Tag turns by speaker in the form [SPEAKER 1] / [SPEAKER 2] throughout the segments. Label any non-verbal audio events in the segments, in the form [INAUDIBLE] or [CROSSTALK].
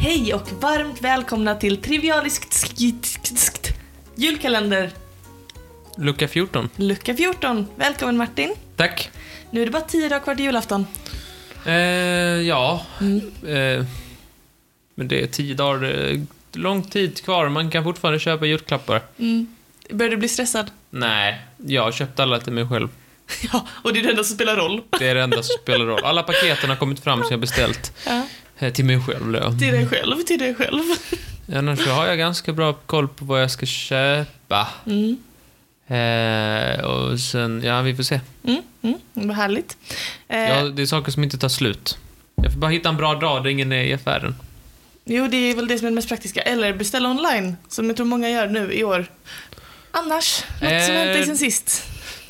[SPEAKER 1] Hej och varmt välkomna till Trivialiskt skitskt julkalender
[SPEAKER 2] Lucka 14.
[SPEAKER 1] lucka 14. Välkommen Martin.
[SPEAKER 2] Tack.
[SPEAKER 1] Nu är det bara tio dagar kvar till julafton.
[SPEAKER 2] Eh, ja. Eh, men det är tio dagar, eh, lång tid kvar. Man kan fortfarande köpa julklappar.
[SPEAKER 1] Mm. Börjar du bli stressad?
[SPEAKER 2] Nej, jag har köpt alla till mig själv.
[SPEAKER 1] [LAUGHS] Ja, och det är det enda som spelar roll.
[SPEAKER 2] Det är det enda som spelar roll. Alla paketen har kommit fram som jag beställt.
[SPEAKER 1] Ja.
[SPEAKER 2] Eh, till mig själv då.
[SPEAKER 1] Till dig själv, till dig själv.
[SPEAKER 2] Annars så har jag ganska bra koll på vad jag ska köpa.
[SPEAKER 1] Mm.
[SPEAKER 2] Eh, och sen, ja vi får se.
[SPEAKER 1] Mm, mm, vad härligt. Eh,
[SPEAKER 2] Ja, det är saker som inte tar slut. Jag får bara hitta en bra dag där ingen är i affären.
[SPEAKER 1] Jo, det är väl det som är det mest praktiska. Eller beställa online, som jag tror många gör nu i år. Annars, något som
[SPEAKER 2] Eh.
[SPEAKER 1] hänt dig sen sist?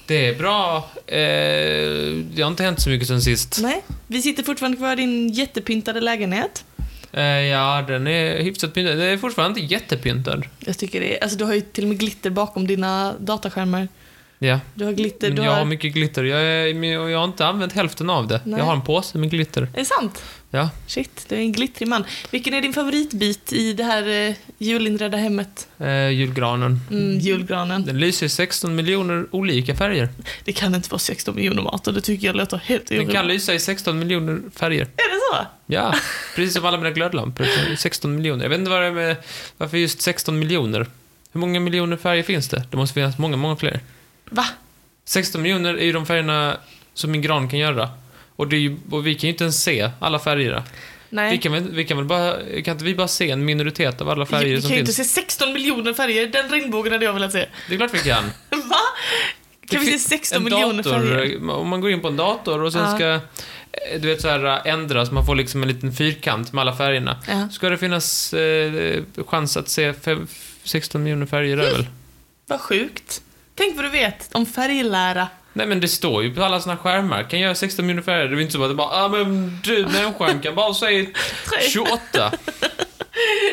[SPEAKER 2] Det är bra. Eh, det har inte hänt så mycket sen sist.
[SPEAKER 1] Nej, vi sitter fortfarande kvar i din jättepyntade lägenhet.
[SPEAKER 2] Eh, ja, den är hyfsat pyntad. Den är fortfarande inte jättepyntad.
[SPEAKER 1] Jag tycker det är, alltså du har ju till och med glitter bakom dina dataskärmar.
[SPEAKER 2] Mm, Ja,
[SPEAKER 1] Du har glitter,
[SPEAKER 2] men
[SPEAKER 1] du
[SPEAKER 2] jag har
[SPEAKER 1] har...
[SPEAKER 2] mycket glitter. Jag, är, men jag jag har inte använt hälften av det.
[SPEAKER 1] Nej.
[SPEAKER 2] Jag har en påse med glitter.
[SPEAKER 1] Är det sant?
[SPEAKER 2] Ja.
[SPEAKER 1] Shit, du är en glittrig man. Vilken är din favoritbit i det här eh, julinredda hemmet?
[SPEAKER 2] Eh, julgranen.
[SPEAKER 1] Mm, julgranen.
[SPEAKER 2] Den lyser i 16 miljoner olika färger.
[SPEAKER 1] Det kan inte vara 16 miljoner mat och det tycker jag låter helt
[SPEAKER 2] Den kan
[SPEAKER 1] orimligt.
[SPEAKER 2] lysa i 16 miljoner färger.
[SPEAKER 1] Är det så? [LAUGHS]
[SPEAKER 2] Ja, precis som alla mina glödlampor. 16 miljoner. Jag vet inte vad det är med, varför just 16 miljoner. Hur många miljoner färger finns det? Det måste finnas många, många fler.
[SPEAKER 1] Va?
[SPEAKER 2] 16 miljoner är ju de färgerna som min gran kan göra. Och, det är ju, och vi kan ju inte ens se alla färgerna.
[SPEAKER 1] Nej.
[SPEAKER 2] Vi kan, väl- vi kan väl bara, kan inte vi bara se en minoritet av alla färger
[SPEAKER 1] Vi
[SPEAKER 2] som
[SPEAKER 1] kan ju inte
[SPEAKER 2] finns?
[SPEAKER 1] se 16 miljoner färger, den regnbågen hade jag velat se.
[SPEAKER 2] Det är klart vi
[SPEAKER 1] [LAUGHS]
[SPEAKER 2] kan.
[SPEAKER 1] Va? Kan
[SPEAKER 2] Det
[SPEAKER 1] vi
[SPEAKER 2] finns
[SPEAKER 1] se 16
[SPEAKER 2] en
[SPEAKER 1] miljoner
[SPEAKER 2] dator, eh,
[SPEAKER 1] färger?
[SPEAKER 2] Om man går in på en dator och sen
[SPEAKER 1] Ja.
[SPEAKER 2] ska, eh, du vet så här eh, ändras, man får liksom en liten fyrkant med alla färgerna.
[SPEAKER 1] Ja.
[SPEAKER 2] Ska det finnas eh, chans att se fem, 16 miljoner färger där väl?
[SPEAKER 1] Vad sjukt. Tänk vad du vet om färglära.
[SPEAKER 2] Nej men det står ju på alla såna skärmar, kan göra 16 miljoner färger. Det är inte så att det bara, ah men du människan kan
[SPEAKER 1] [LAUGHS]
[SPEAKER 2] bara säga 28.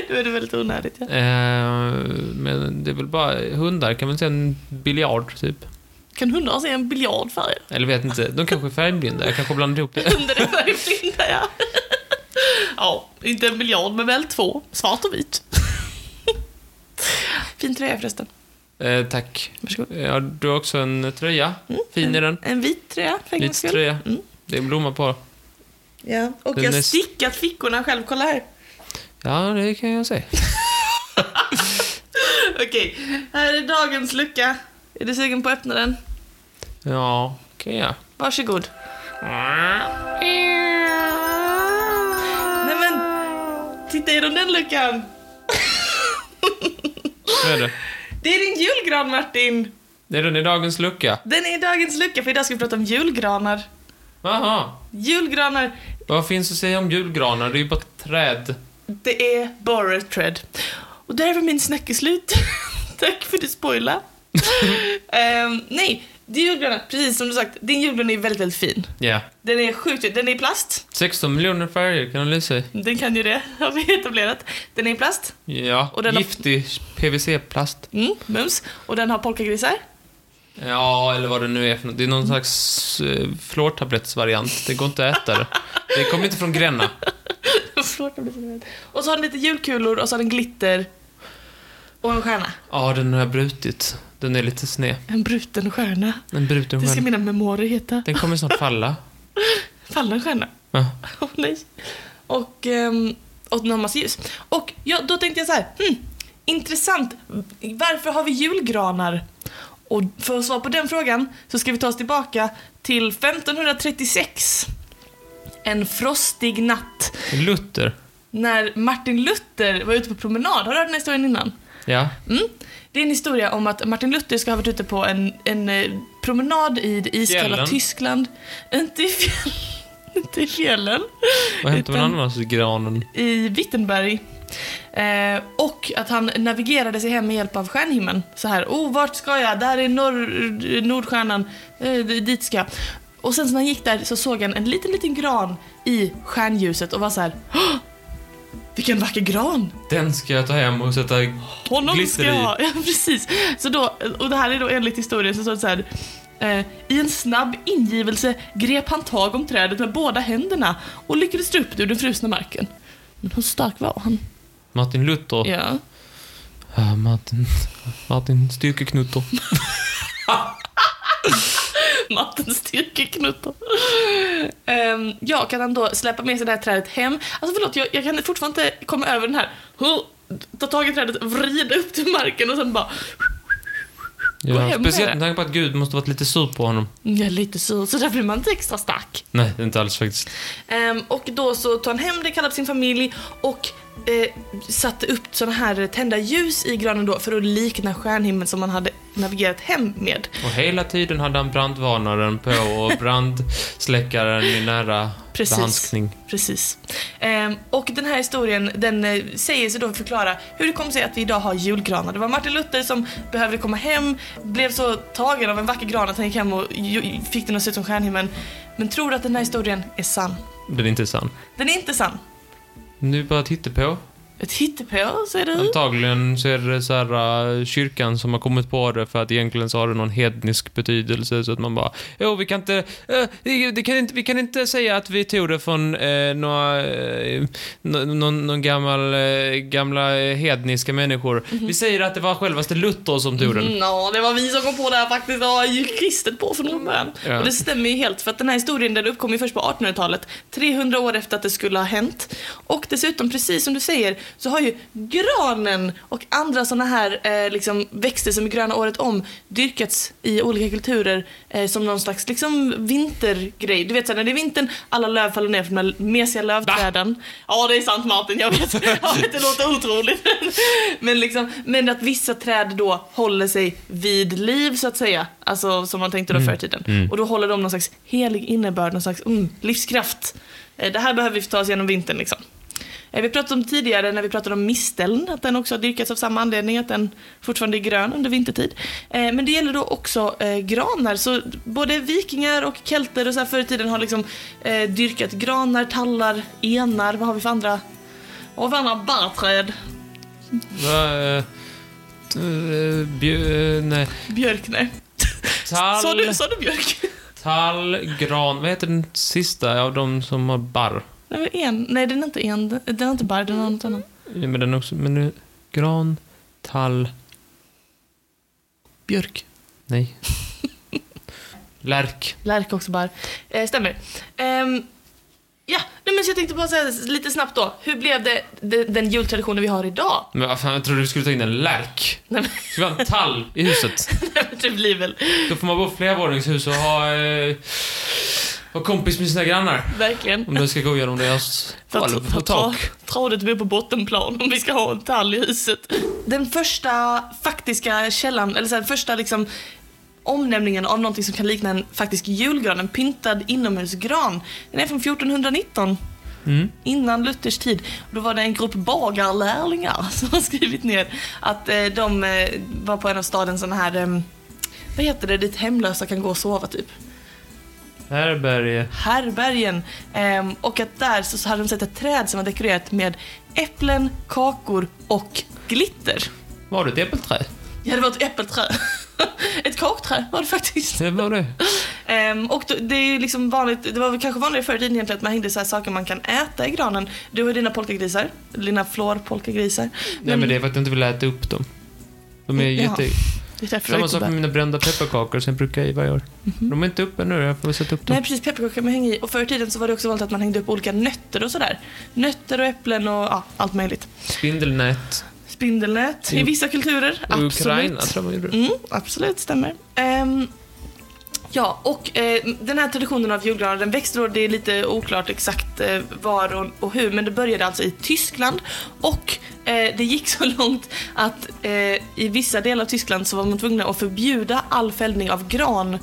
[SPEAKER 1] Då är det väldigt onödigt. Ja.
[SPEAKER 2] Eh, men det är väl bara hundar kan man säga en biljard typ.
[SPEAKER 1] Kan hundar se en biljard färger?
[SPEAKER 2] Eller vet inte, de kanske är färgblinda. Jag kanske blandar ihop det.
[SPEAKER 1] Hundar är färgblinda, ja. Ja, inte en biljard, men väl två. Svart och vit. Fin tröja förresten.
[SPEAKER 2] Eh, tack.
[SPEAKER 1] Varsågod.
[SPEAKER 2] Ja, du har också en tröja.
[SPEAKER 1] Mm.
[SPEAKER 2] Fin är den.
[SPEAKER 1] En vit tröja för en gångs
[SPEAKER 2] Vit
[SPEAKER 1] skull.
[SPEAKER 2] tröja.
[SPEAKER 1] Mm.
[SPEAKER 2] Det är en blomma på.
[SPEAKER 1] Ja. Och
[SPEAKER 2] Den
[SPEAKER 1] jag
[SPEAKER 2] är
[SPEAKER 1] har
[SPEAKER 2] s-
[SPEAKER 1] stickat fickorna själv, kolla här.
[SPEAKER 2] Ja, det kan jag säga.
[SPEAKER 1] Okej, här är dagens lucka. Är du sugen på att öppna den?
[SPEAKER 2] Ja, kan jag.
[SPEAKER 1] Varsågod. Nej men, titta genom den luckan.
[SPEAKER 2] Så är det.
[SPEAKER 1] Det är din julgran Martin!
[SPEAKER 2] Det är den i dagens lucka.
[SPEAKER 1] Den är dagens lucka för idag ska vi prata om julgranar.
[SPEAKER 2] Jaha.
[SPEAKER 1] Julgranar,
[SPEAKER 2] Vad finns att säga om julgranar? Det är ju bara träd.
[SPEAKER 1] det är borrowed thread. Och där var min snacke slut. [LAUGHS] Tack för det spoila. Ehm, nej, det är julgranar, precis som du sagt, din julgran är väldigt, väldigt fin.
[SPEAKER 2] Ja.
[SPEAKER 1] Den är sjukt, den är i plast.
[SPEAKER 2] 16 miljoner färger kan de lysa i.
[SPEAKER 1] Den kan ju det, [LAUGHS] har vi etablerat. Den är i plast.
[SPEAKER 2] Ja.
[SPEAKER 1] Och den har-
[SPEAKER 2] Giftig PVC-plast.
[SPEAKER 1] Mm, mums. Och den har polkagrisar. [LAUGHS]
[SPEAKER 2] Ja, eller vad det nu är för något. Det är någon slags eh, fluortablettsvariant. Det går inte att äta det. Det kommer inte från Gränna.
[SPEAKER 1] Förlåt, jag blir så rädd. Och så har den lite julkulor och så har den glitter. Och en stjärna.
[SPEAKER 2] Ja, den har jag brutit. Den är lite sned.
[SPEAKER 1] En bruten stjärna.
[SPEAKER 2] En bruten
[SPEAKER 1] Det ska
[SPEAKER 2] stjärna.
[SPEAKER 1] mina memoarer heta.
[SPEAKER 2] Den kommer snart falla.
[SPEAKER 1] Fallen stjärna.
[SPEAKER 2] Ja.
[SPEAKER 1] Åh nej. Och, ehm, och den har massa ljus. Och ja, då tänkte jag så här. Hmm, intressant. Varför har vi julgranar? Och för att svara på den frågan så ska vi ta oss tillbaka till 1536. En frostig natt.
[SPEAKER 2] Luther.
[SPEAKER 1] När Martin Luther var ute på promenad. Har du hört den här historien innan?
[SPEAKER 2] Ja.
[SPEAKER 1] Mm. Det är en historia om att Martin Luther ska ha varit ute på en, en eh, promenad i det iskalla
[SPEAKER 2] Fjällen.
[SPEAKER 1] Tyskland. Inte i fjällen. [LAUGHS] Inte i fjällen.
[SPEAKER 2] Vad hämtar man
[SPEAKER 1] Utan-
[SPEAKER 2] annars i granen?
[SPEAKER 1] I Wittenberg. Eh, och att han navigerade sig hem med hjälp av stjärnhimlen. Så här, oh vart ska jag? Där är norr, Nordstjärnan. Eh, dit ska jag. Och sen så när han gick där så såg han en liten, liten gran i stjärnljuset och var så här, "Åh, Vilken vacker gran!
[SPEAKER 2] Den ska jag ta hem och sätta...
[SPEAKER 1] Honom
[SPEAKER 2] Glitter
[SPEAKER 1] ska
[SPEAKER 2] i.
[SPEAKER 1] jag ha. [LAUGHS] Ja, precis. Så då, och det här är då enligt historien så står det så här. Eh, I en snabb ingivelse grep han tag om trädet med båda händerna och lyckades dra upp det ur den frusna marken. Men hur stark var han?
[SPEAKER 2] Martin Luther.
[SPEAKER 1] Ja.
[SPEAKER 2] Ah, Martin... Martin Styrkeknutter.
[SPEAKER 1] [LAUGHS] Mattens styrkeknutar. Um, ja, kan han då släppa med sig det här trädet hem? Alltså förlåt, jag, jag kan fortfarande inte komma över den här. Huh, Ta tag i trädet, vrida upp till marken och sen bara... Gå hem
[SPEAKER 2] Ja,
[SPEAKER 1] med
[SPEAKER 2] speciellt
[SPEAKER 1] det.
[SPEAKER 2] med tanke på att Gud måste varit lite sur på honom.
[SPEAKER 1] "Mm, Jag är lite sur, så där blir man inte extra stark.
[SPEAKER 2] Nej, inte alls faktiskt.
[SPEAKER 1] Ehm, och då så tog han hem det, kallade sin familj och eh, satte upp såna här tända ljus i granen då för att likna stjärnhimlen som man hade navigerat hem med.
[SPEAKER 2] Och hela tiden hade han brandvarnaren på och brandsläckaren i nära
[SPEAKER 1] Precis.
[SPEAKER 2] behandskning.
[SPEAKER 1] Precis. Ehm, och den här historien den eh, säger sig då förklara hur det kom sig att vi idag har julgranar. Det var Martin Luther som behövde komma hem, blev så tagen av en vacker gran att han gick hem och ju- fick den att se ut som stjärnhimlen. Men tror du att den här historien är sann?
[SPEAKER 2] Den är inte sann.
[SPEAKER 1] Den är inte sann.
[SPEAKER 2] Nu bara titta på.
[SPEAKER 1] Ett hittepå, säger du?
[SPEAKER 2] Antagligen så är det så här, äh, kyrkan som har kommit på det för att egentligen så har det någon hednisk betydelse så att man bara Jo, vi kan inte, äh, det- det kan inte, vi kan inte säga att vi tog det från eh, några, eh, nå- någon, någon gammal, eh, gamla eh, hedniska människor. Vi säger att det var självaste Luther som tog den.
[SPEAKER 1] Mm, Ja, det var vi som kom på det här faktiskt. Det var ju kristet på från början.
[SPEAKER 2] Ja.
[SPEAKER 1] Och det stämmer ju helt för att den här historien den uppkom ju först på 1800-talet. 300 år efter att det skulle ha hänt. Och dessutom, precis som du säger, så har ju granen och andra sådana här eh, liksom, växter som är gröna året om dyrkats i olika kulturer eh, som någon slags liksom, vintergrej. Du vet så här, när det är vintern, alla löv faller ner från de här mesiga lövträden. Ja, det är sant Martin, jag vet. Jag vet det låter otroligt. Men, liksom, men att vissa träd då håller sig vid liv så att säga. Alltså som man tänkte då förr i tiden. Och då håller de någon slags helig innebörd, någon slags mm, livskraft. Eh, Det här behöver vi ta oss igenom vintern liksom. Eh, Vi pratade om tidigare när vi pratade om misteln, att den också har dyrkats av samma anledning, att den fortfarande är grön under vintertid. Eh, Men det gäller då också eh, granar, så både vikingar och kelter och så här förr i tiden har liksom eh, dyrkat granar, tallar, enar, vad har vi för andra? Och vad andra barrträd?
[SPEAKER 2] Va, eh, t- eh, bjö- eh, nej.
[SPEAKER 1] Björk, nej. [LAUGHS]
[SPEAKER 2] Tall,
[SPEAKER 1] Sa du, sa du björk? [LAUGHS]
[SPEAKER 2] tall, gran, vad heter den sista av de som har barr?
[SPEAKER 1] Det var en. Nej, den är inte en. Den är inte barr, den är något annat.
[SPEAKER 2] Ja, men den också, men nu, gran, tall,
[SPEAKER 1] Björk.
[SPEAKER 2] nej. Lärk.
[SPEAKER 1] Lärk också barr. Eh, stämmer. Ehm, ja, nej, men så jag tänkte bara säga lite snabbt då. Hur blev det, det den jultraditionen vi har idag? [LAUGHS]
[SPEAKER 2] Men vad fan, jag trodde du skulle ta in en lärk.
[SPEAKER 1] Nej, men- typ
[SPEAKER 2] Det ska vara en tall i huset.
[SPEAKER 1] det blir väl
[SPEAKER 2] Då får man bo i flervåningshus och ha, eh, ha kompis med sina grannar.
[SPEAKER 1] verkligen...
[SPEAKER 2] Om det ska gå genom deras golv och tak.
[SPEAKER 1] Tradet bor på bottenplan om vi ska ha en tall i huset. Den första faktiska källan, eller så här, första liksom omnämningen av någonting som kan likna en faktisk julgran, en pyntad inomhusgran. Den är från 1419.
[SPEAKER 2] Mm.
[SPEAKER 1] innan Luthers tid. Då var det en grupp bagarlärlingar [LAUGHS] som har skrivit ner att eh, de eh, var på en av stadens sådana här, eh, vad heter det, dit hemlösa kan gå och sova typ.
[SPEAKER 2] Härberge.
[SPEAKER 1] Härbergen. Eh, och att där så så hade de sett ett träd som var dekorerat med äpplen, kakor och glitter.
[SPEAKER 2] Var det ett äppelträd?
[SPEAKER 1] Ja, det var ett äppelträd. [LAUGHS] Ett kakträ var det faktiskt.
[SPEAKER 2] Det var det.
[SPEAKER 1] Ehm, och då, det är ju liksom vanligt, det var väl kanske vanligare förr i tiden egentligen att man hängde så här saker man kan äta i granen. Du har dina polkagrisar, dina florpolkagrisar.
[SPEAKER 2] Nej men det är för att jag inte vill äta upp dem. De är
[SPEAKER 1] Ja.
[SPEAKER 2] jätte...
[SPEAKER 1] det är därför
[SPEAKER 2] Samma
[SPEAKER 1] jag
[SPEAKER 2] sak med
[SPEAKER 1] inte
[SPEAKER 2] mina brända pepparkakor som jag brukar i varje år. De är inte uppe nu, jag får sätta upp dem.
[SPEAKER 1] Mhm. Nej precis, pepparkakor kan man hänga i. Och förr i tiden så var det också vanligt att man hängde upp olika nötter och sådär. Nötter och äpplen och ja, allt möjligt.
[SPEAKER 2] Spindelnät.
[SPEAKER 1] Spindelnät i
[SPEAKER 2] I-
[SPEAKER 1] vissa kulturer.
[SPEAKER 2] Och
[SPEAKER 1] Absolut.
[SPEAKER 2] Ukraina tror jag man gjorde.
[SPEAKER 1] Mm, absolut, stämmer. Ehm, ja, och eh, den här traditionen av julgranar den växte då, det är lite oklart exakt eh, var och, och hur, men det började alltså i Tyskland och eh, det gick så [LAUGHS] långt att eh, i vissa delar av Tyskland så var man tvungna att förbjuda all fällning av gran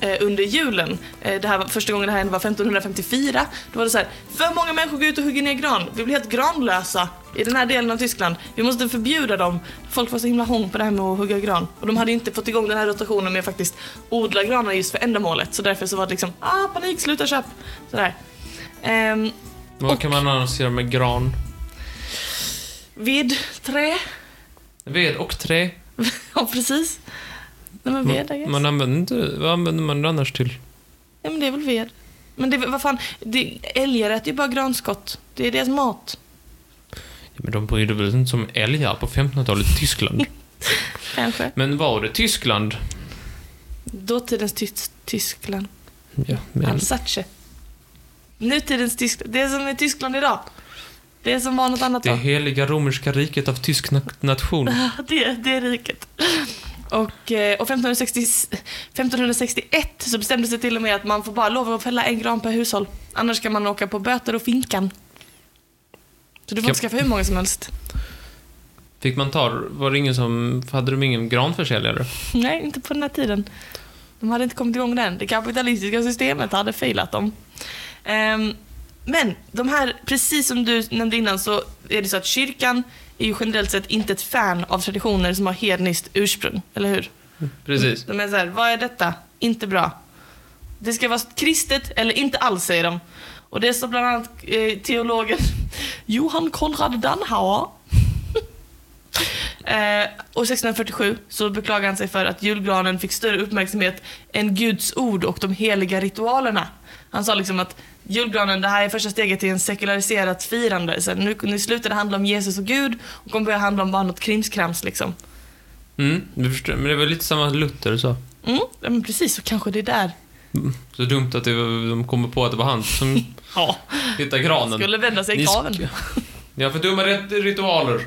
[SPEAKER 1] eh, under julen. Eh, det här var, första gången det här hände var 1554. Då var det så här, för många människor går ut och hugger ner gran. Vi blir helt granlösa i den här delen av Tyskland. Vi måste förbjuda dem. Folk var så himla hång på det här med att hugga gran. Och de hade inte fått igång den här rotationen med att faktiskt odla granar just för ändamålet. Så därför så var det liksom, ah panik, sluta köp. Sådär. Ehm,
[SPEAKER 2] Vad kan man annars göra med gran?
[SPEAKER 1] Ved, trä. [LAUGHS]
[SPEAKER 2] Ved och trä.
[SPEAKER 1] Ja, precis. Nej, men ved, I guess.
[SPEAKER 2] Man använder inte... Vad använder man det annars till?
[SPEAKER 1] Ja, men det är väl ved. Men det, är väl- vad fan, det, älgar äter ju bara granskott. Det är deras mat.
[SPEAKER 2] Ja, men de brydde väl inte som älgar på 1500-talet i Tyskland.
[SPEAKER 1] [LAUGHS] Kanske.
[SPEAKER 2] Men var det Tyskland?
[SPEAKER 1] Dåtidens ty- Tyskland.
[SPEAKER 2] Ja, men...
[SPEAKER 1] Alsace. Nutidens Tyskland. Det som är Tyskland idag. Det som var något annat
[SPEAKER 2] Det
[SPEAKER 1] då.
[SPEAKER 2] heliga romerska riket av tysk na- nation.
[SPEAKER 1] [LAUGHS] Det, det är riket. Och, eh, och 1560, 1561 så bestämdes det till och med att man får bara lov att fälla en gran per hushåll. Annars kan man åka på böter och finkan. Så du får
[SPEAKER 2] Kan-
[SPEAKER 1] inte skaffa hur många som helst.
[SPEAKER 2] Fick man ta... Var det ingen som... Hade de ingen granförsäljare?
[SPEAKER 1] [LAUGHS] Nej, inte på den här tiden. De hade inte kommit igång den. Det kapitalistiska systemet hade failat dem. Ehm, men de här, precis som du nämnde innan, så är det så att kyrkan är ju generellt sett inte ett fan av traditioner som har hedniskt ursprung, eller hur?
[SPEAKER 2] Precis.
[SPEAKER 1] De är så här, vad är detta? Inte bra. Det ska vara kristet eller inte alls, säger de. Och det står bland annat eh, teologen [LAUGHS] Johan Konrad Danhauer. [LAUGHS] eh, och 1647 så beklagar han sig för att julgranen fick större uppmärksamhet än Guds ord och de heliga ritualerna. Han sa liksom att julgranen, det här är första steget till en sekulariserat firande. Så nu, nu slutar det handla om Jesus och Gud och kommer börja handla om bara något krimskrams liksom.
[SPEAKER 2] Mm, du förstår. Men det var lite samma Luther sa.
[SPEAKER 1] Mm, ja, men precis, så kanske det är där
[SPEAKER 2] Så dumt att det, var- de kommer på att det var han som
[SPEAKER 1] Ja,
[SPEAKER 2] hittade granen.
[SPEAKER 1] skulle vända sig
[SPEAKER 2] Ni
[SPEAKER 1] i
[SPEAKER 2] sk-
[SPEAKER 1] graven.
[SPEAKER 2] Ni har för dumma rit- ritualer.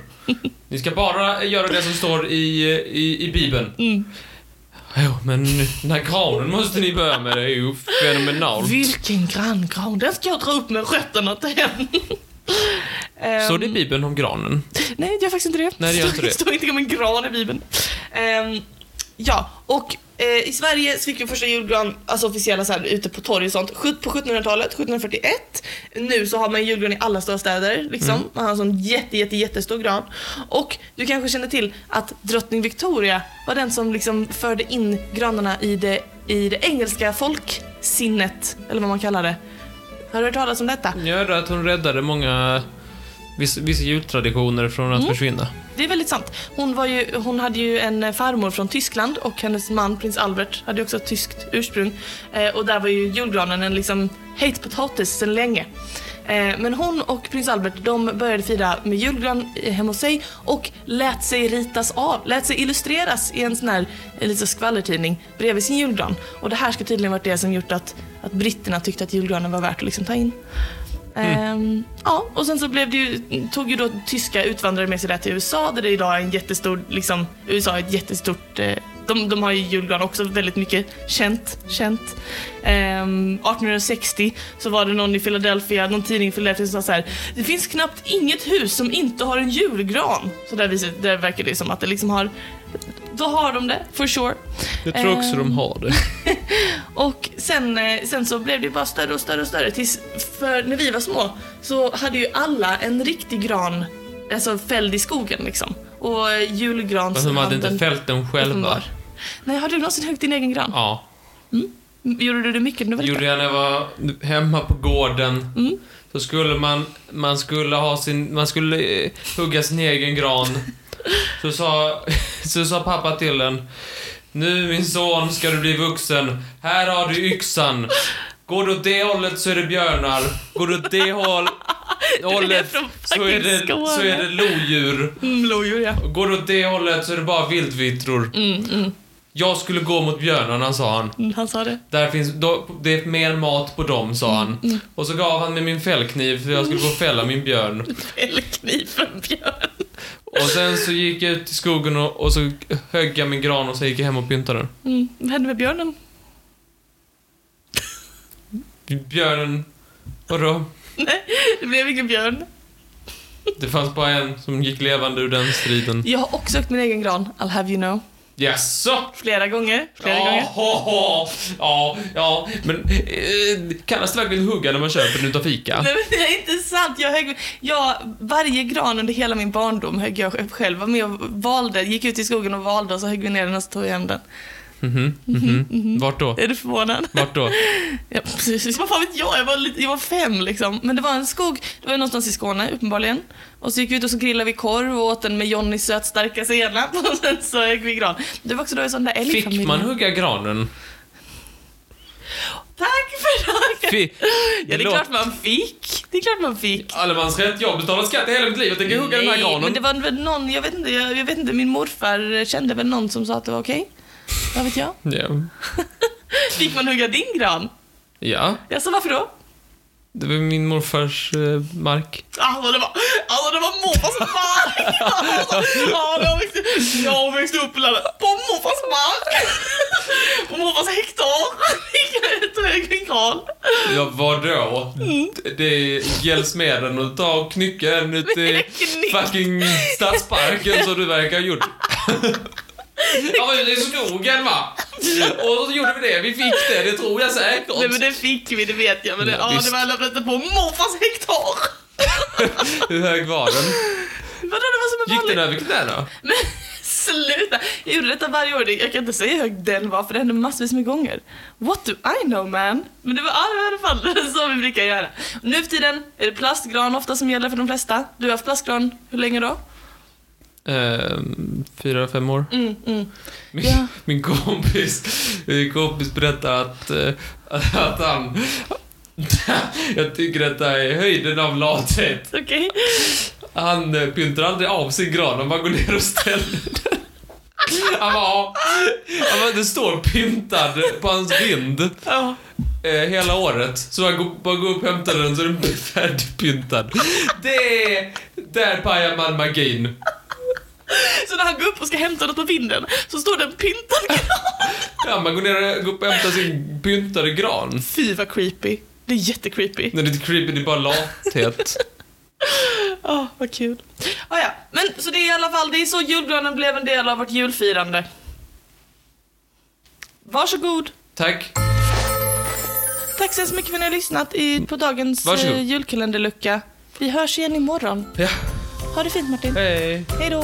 [SPEAKER 2] Ni ska bara göra det som står i, i, i Bibeln.
[SPEAKER 1] Mm.
[SPEAKER 2] Jo, men den här granen måste ni börja med. Det är ju fenomenalt.
[SPEAKER 1] Vilken granngran, den ska jag dra upp med rötterna till den. Ehm,
[SPEAKER 2] Står det i Bibeln om granen?
[SPEAKER 1] Nej, det gör faktiskt inte det.
[SPEAKER 2] Nej, det gör
[SPEAKER 1] står,
[SPEAKER 2] inte det.
[SPEAKER 1] står inte om en gran i Bibeln. Ehm, ja, och eh, i Sverige så fick vi första julgran, alltså officiella så här, ute på torg och sånt, sjut- på 1700-talet, 1741. Nu så har man julgran i alla stora städer, liksom.
[SPEAKER 2] Mm.
[SPEAKER 1] Man har en sån jätte, jätte, jättestor gran. Och du kanske känner till att drottning Victoria var den som liksom förde in granarna i det, i det engelska folksinnet, eller vad man kallar det. Har du hört talas om detta?
[SPEAKER 2] Jag hörde att hon räddade många... Vissa, vissa jultraditioner från
[SPEAKER 1] Mm.
[SPEAKER 2] att försvinna.
[SPEAKER 1] Det är väldigt sant. Hon, var ju, hon hade ju en farmor från Tyskland och hennes man prins Albert hade ju också ett tyskt ursprung. Eh, och där var ju julgranen en liksom hate potatis sedan länge. Eh, men hon och prins Albert de började fira med julgran eh, hemma hos sig och lät sig ritas av, lät sig illustreras i en sån här eh, liten skvallertidning bredvid sin julgran. Och det här ska tydligen varit det som gjort att, att britterna tyckte att julgranen var värt att liksom ta in. Ehm, ja, och sen så blev det ju, tog ju då tyska utvandrare med sig det här till USA där det idag är en jättestor, liksom, USA är ett jättestort, eh, de, de har ju julgran också väldigt mycket känt, känt. Ehm, 1860 så var det någon i Philadelphia, någon tidning i Philadelphia som sa så här, det finns knappt inget hus som inte har en julgran. Så där, visar, där verkar det som att det liksom har, då har de det, for sure.
[SPEAKER 2] Jag tror också
[SPEAKER 1] Ehm.
[SPEAKER 2] de har det.
[SPEAKER 1] Och sen, eh, sen så blev det bara större och större och större. Tills, för när vi var små så hade ju alla en riktig gran alltså fälld i skogen liksom. Och eh, julgrans...
[SPEAKER 2] Fast de hade inte fällt den själva.
[SPEAKER 1] Uppenbar. Nej, har du någonsin högt din egen gran? Mm,
[SPEAKER 2] Ja.
[SPEAKER 1] Gjorde du det mycket när du var [LAUGHS]
[SPEAKER 2] gjorde
[SPEAKER 1] liten?
[SPEAKER 2] jag när jag var hemma på gården.
[SPEAKER 1] Mm.
[SPEAKER 2] Så skulle man, man skulle ha sin, man skulle eh, hugga sin egen gran.
[SPEAKER 1] [LAUGHS]
[SPEAKER 2] Så sa, [LAUGHS] så sa pappa till en. Nu min son ska du bli vuxen. Här har du yxan. Går du åt det hållet så är det björnar. Går du åt det håll,
[SPEAKER 1] [LAUGHS]
[SPEAKER 2] hållet
[SPEAKER 1] från
[SPEAKER 2] så är det,
[SPEAKER 1] fucking
[SPEAKER 2] så är
[SPEAKER 1] Skåne.
[SPEAKER 2] det lodjur.
[SPEAKER 1] Mm, lodjur ja.
[SPEAKER 2] Och Går du åt det hållet så är det bara vildvittror.
[SPEAKER 1] Mm, mm,
[SPEAKER 2] Jag skulle gå mot björnarna sa han.
[SPEAKER 1] mm, han sa det.
[SPEAKER 2] Där finns, då, det är mer mat på dem, sa han.
[SPEAKER 1] Mm.
[SPEAKER 2] Och så gav han mig min fällkniv för jag skulle få fälla min björn.
[SPEAKER 1] Eller kniv för en björn.
[SPEAKER 2] Och sen så gick jag ut i skogen och, och så högg jag min gran och så gick jag hem och pyntade
[SPEAKER 1] Mm, vad hände med björnen?
[SPEAKER 2] den. Björnen, vadå?
[SPEAKER 1] Det blev ingen björn.
[SPEAKER 2] Det fanns bara en som gick levande ur den striden.
[SPEAKER 1] Jag har också högt min egen gran, I'll have you know.
[SPEAKER 2] Jaså?
[SPEAKER 1] Flera gånger. Flera
[SPEAKER 2] Ja,
[SPEAKER 1] gånger.
[SPEAKER 2] ho, ho. ja, ja, men eh, kallas det verkligen hugga när man köper den utav fika?
[SPEAKER 1] Nej men det är inte sant. Jag högg, jag, varje gran under hela min barndom högg jag själv. Var med och valde, gick ut i skogen och valde och så högg vi ner den och så tog jag hem den.
[SPEAKER 2] Mhm,
[SPEAKER 1] Mm-hmm,
[SPEAKER 2] mhm. Vart då?
[SPEAKER 1] Är du förvånad?
[SPEAKER 2] Vart då?
[SPEAKER 1] [LAUGHS] Ja, precis. Vad fan vet jag? Jag var, lite, jag var fem liksom. Men det var en skog, det var ju någonstans i Skåne uppenbarligen. Och så gick vi ut och så grillade vi korv och åt den med Jonnys sötstarka senap [LAUGHS] och sen så gick vi i gran. Det var också då en sån där älgfamilj.
[SPEAKER 2] Fick man hugga granen?
[SPEAKER 1] Tack för dagen!
[SPEAKER 2] Fi-
[SPEAKER 1] Ja, det är klart man fick. Det är klart man fick.
[SPEAKER 2] Allemansrätt, jag har betalat skatt i hela mitt liv, jag tänker hugga den här
[SPEAKER 1] Nej,
[SPEAKER 2] granen.
[SPEAKER 1] Men det var väl någon, jag vet inte, jag, jag vet inte, min morfar kände väl någon som sa att det var okej. Vad vet jag?
[SPEAKER 2] Ja.
[SPEAKER 1] [LAUGHS] Fick man hugga din gran?
[SPEAKER 2] ja,
[SPEAKER 1] Jag sa varför då?
[SPEAKER 2] det var min morfars eh, mark.
[SPEAKER 1] Alltså det var, alltså det var morfars [LAUGHS] mark! Alltså, ja, jag, växte, jag växte upp bland, på morfars mark! På morfars hektar fick jag ett högre gran.
[SPEAKER 2] Ja, vadå?
[SPEAKER 1] Mm.
[SPEAKER 2] Det- Det gälls med den och ta och knycka
[SPEAKER 1] [LAUGHS]
[SPEAKER 2] den ute i
[SPEAKER 1] Knyck.
[SPEAKER 2] fucking stadsparken som du verkar ha
[SPEAKER 1] [LAUGHS]
[SPEAKER 2] gjort. Ja, var ute i skogen va? Och så gjorde vi det, vi fick det, det tror jag säkert.
[SPEAKER 1] Nej men det fick vi, det vet jag. Men det,
[SPEAKER 2] Ja,
[SPEAKER 1] ja, det
[SPEAKER 2] visst.
[SPEAKER 1] var alla inte på morfars hektar.
[SPEAKER 2] Hur hög var den?
[SPEAKER 1] Vadå, det var som en
[SPEAKER 2] Gick den
[SPEAKER 1] vanlig...
[SPEAKER 2] över knäna?
[SPEAKER 1] Men [LAUGHS] sluta! Jag gjorde detta varje år. Jag kan inte säga hur hög den var för det hände massvis med gånger. What do I know man? Men det var ja, det var i alla fall så vi brukar göra. Nu för tiden är det plastgran ofta som gäller för de flesta. Du har haft plastgran, hur länge då?
[SPEAKER 2] Ehm, fyra, fem år.
[SPEAKER 1] Mm, mm.
[SPEAKER 2] Min,
[SPEAKER 1] Ja.
[SPEAKER 2] min kompis, min kompis berättar att, eh, att han... Jag tycker detta är höjden av lathet.
[SPEAKER 1] Okej.
[SPEAKER 2] Han eh, pyntar aldrig av sin gran, han bara går ner och ställer den. Han bara, ja. han bara, det står pyntad på hans vind
[SPEAKER 1] Ja.
[SPEAKER 2] eh, hela året. Så han går, bara går upp och hämtar den så är den färdigpyntad. Det är... Där pajar man magin.
[SPEAKER 1] Så när han går upp och ska hämta något på vinden så står det en pyntad gran.
[SPEAKER 2] Ja, man går ner och går upp och hämtar sin pyntade gran.
[SPEAKER 1] Fy vad creepy. Det är jättecreepy.
[SPEAKER 2] Nej, det är inte creepy, det är bara [LAUGHS] lathet.
[SPEAKER 1] Åh, vad kul. Ah, ja. Men så det är i alla fall, det är så julgranen blev en del av vårt julfirande. Varsågod.
[SPEAKER 2] Tack.
[SPEAKER 1] Tack så hemskt mycket för att ni har lyssnat i, på dagens
[SPEAKER 2] Varsågod.
[SPEAKER 1] eh, julkalenderlucka. Vi hörs igen imorgon.
[SPEAKER 2] Ja,
[SPEAKER 1] Ha det fint Martin.
[SPEAKER 2] hej.
[SPEAKER 1] Hej då.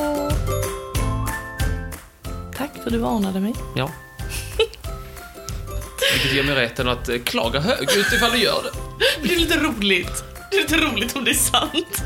[SPEAKER 1] Tack för att du varnade mig.
[SPEAKER 2] Ja. Vilket ger mig rätten att eh, klaga högljutt ifall du gör det.
[SPEAKER 1] [LAUGHS] Det är lite roligt. Det är lite roligt om det är sant.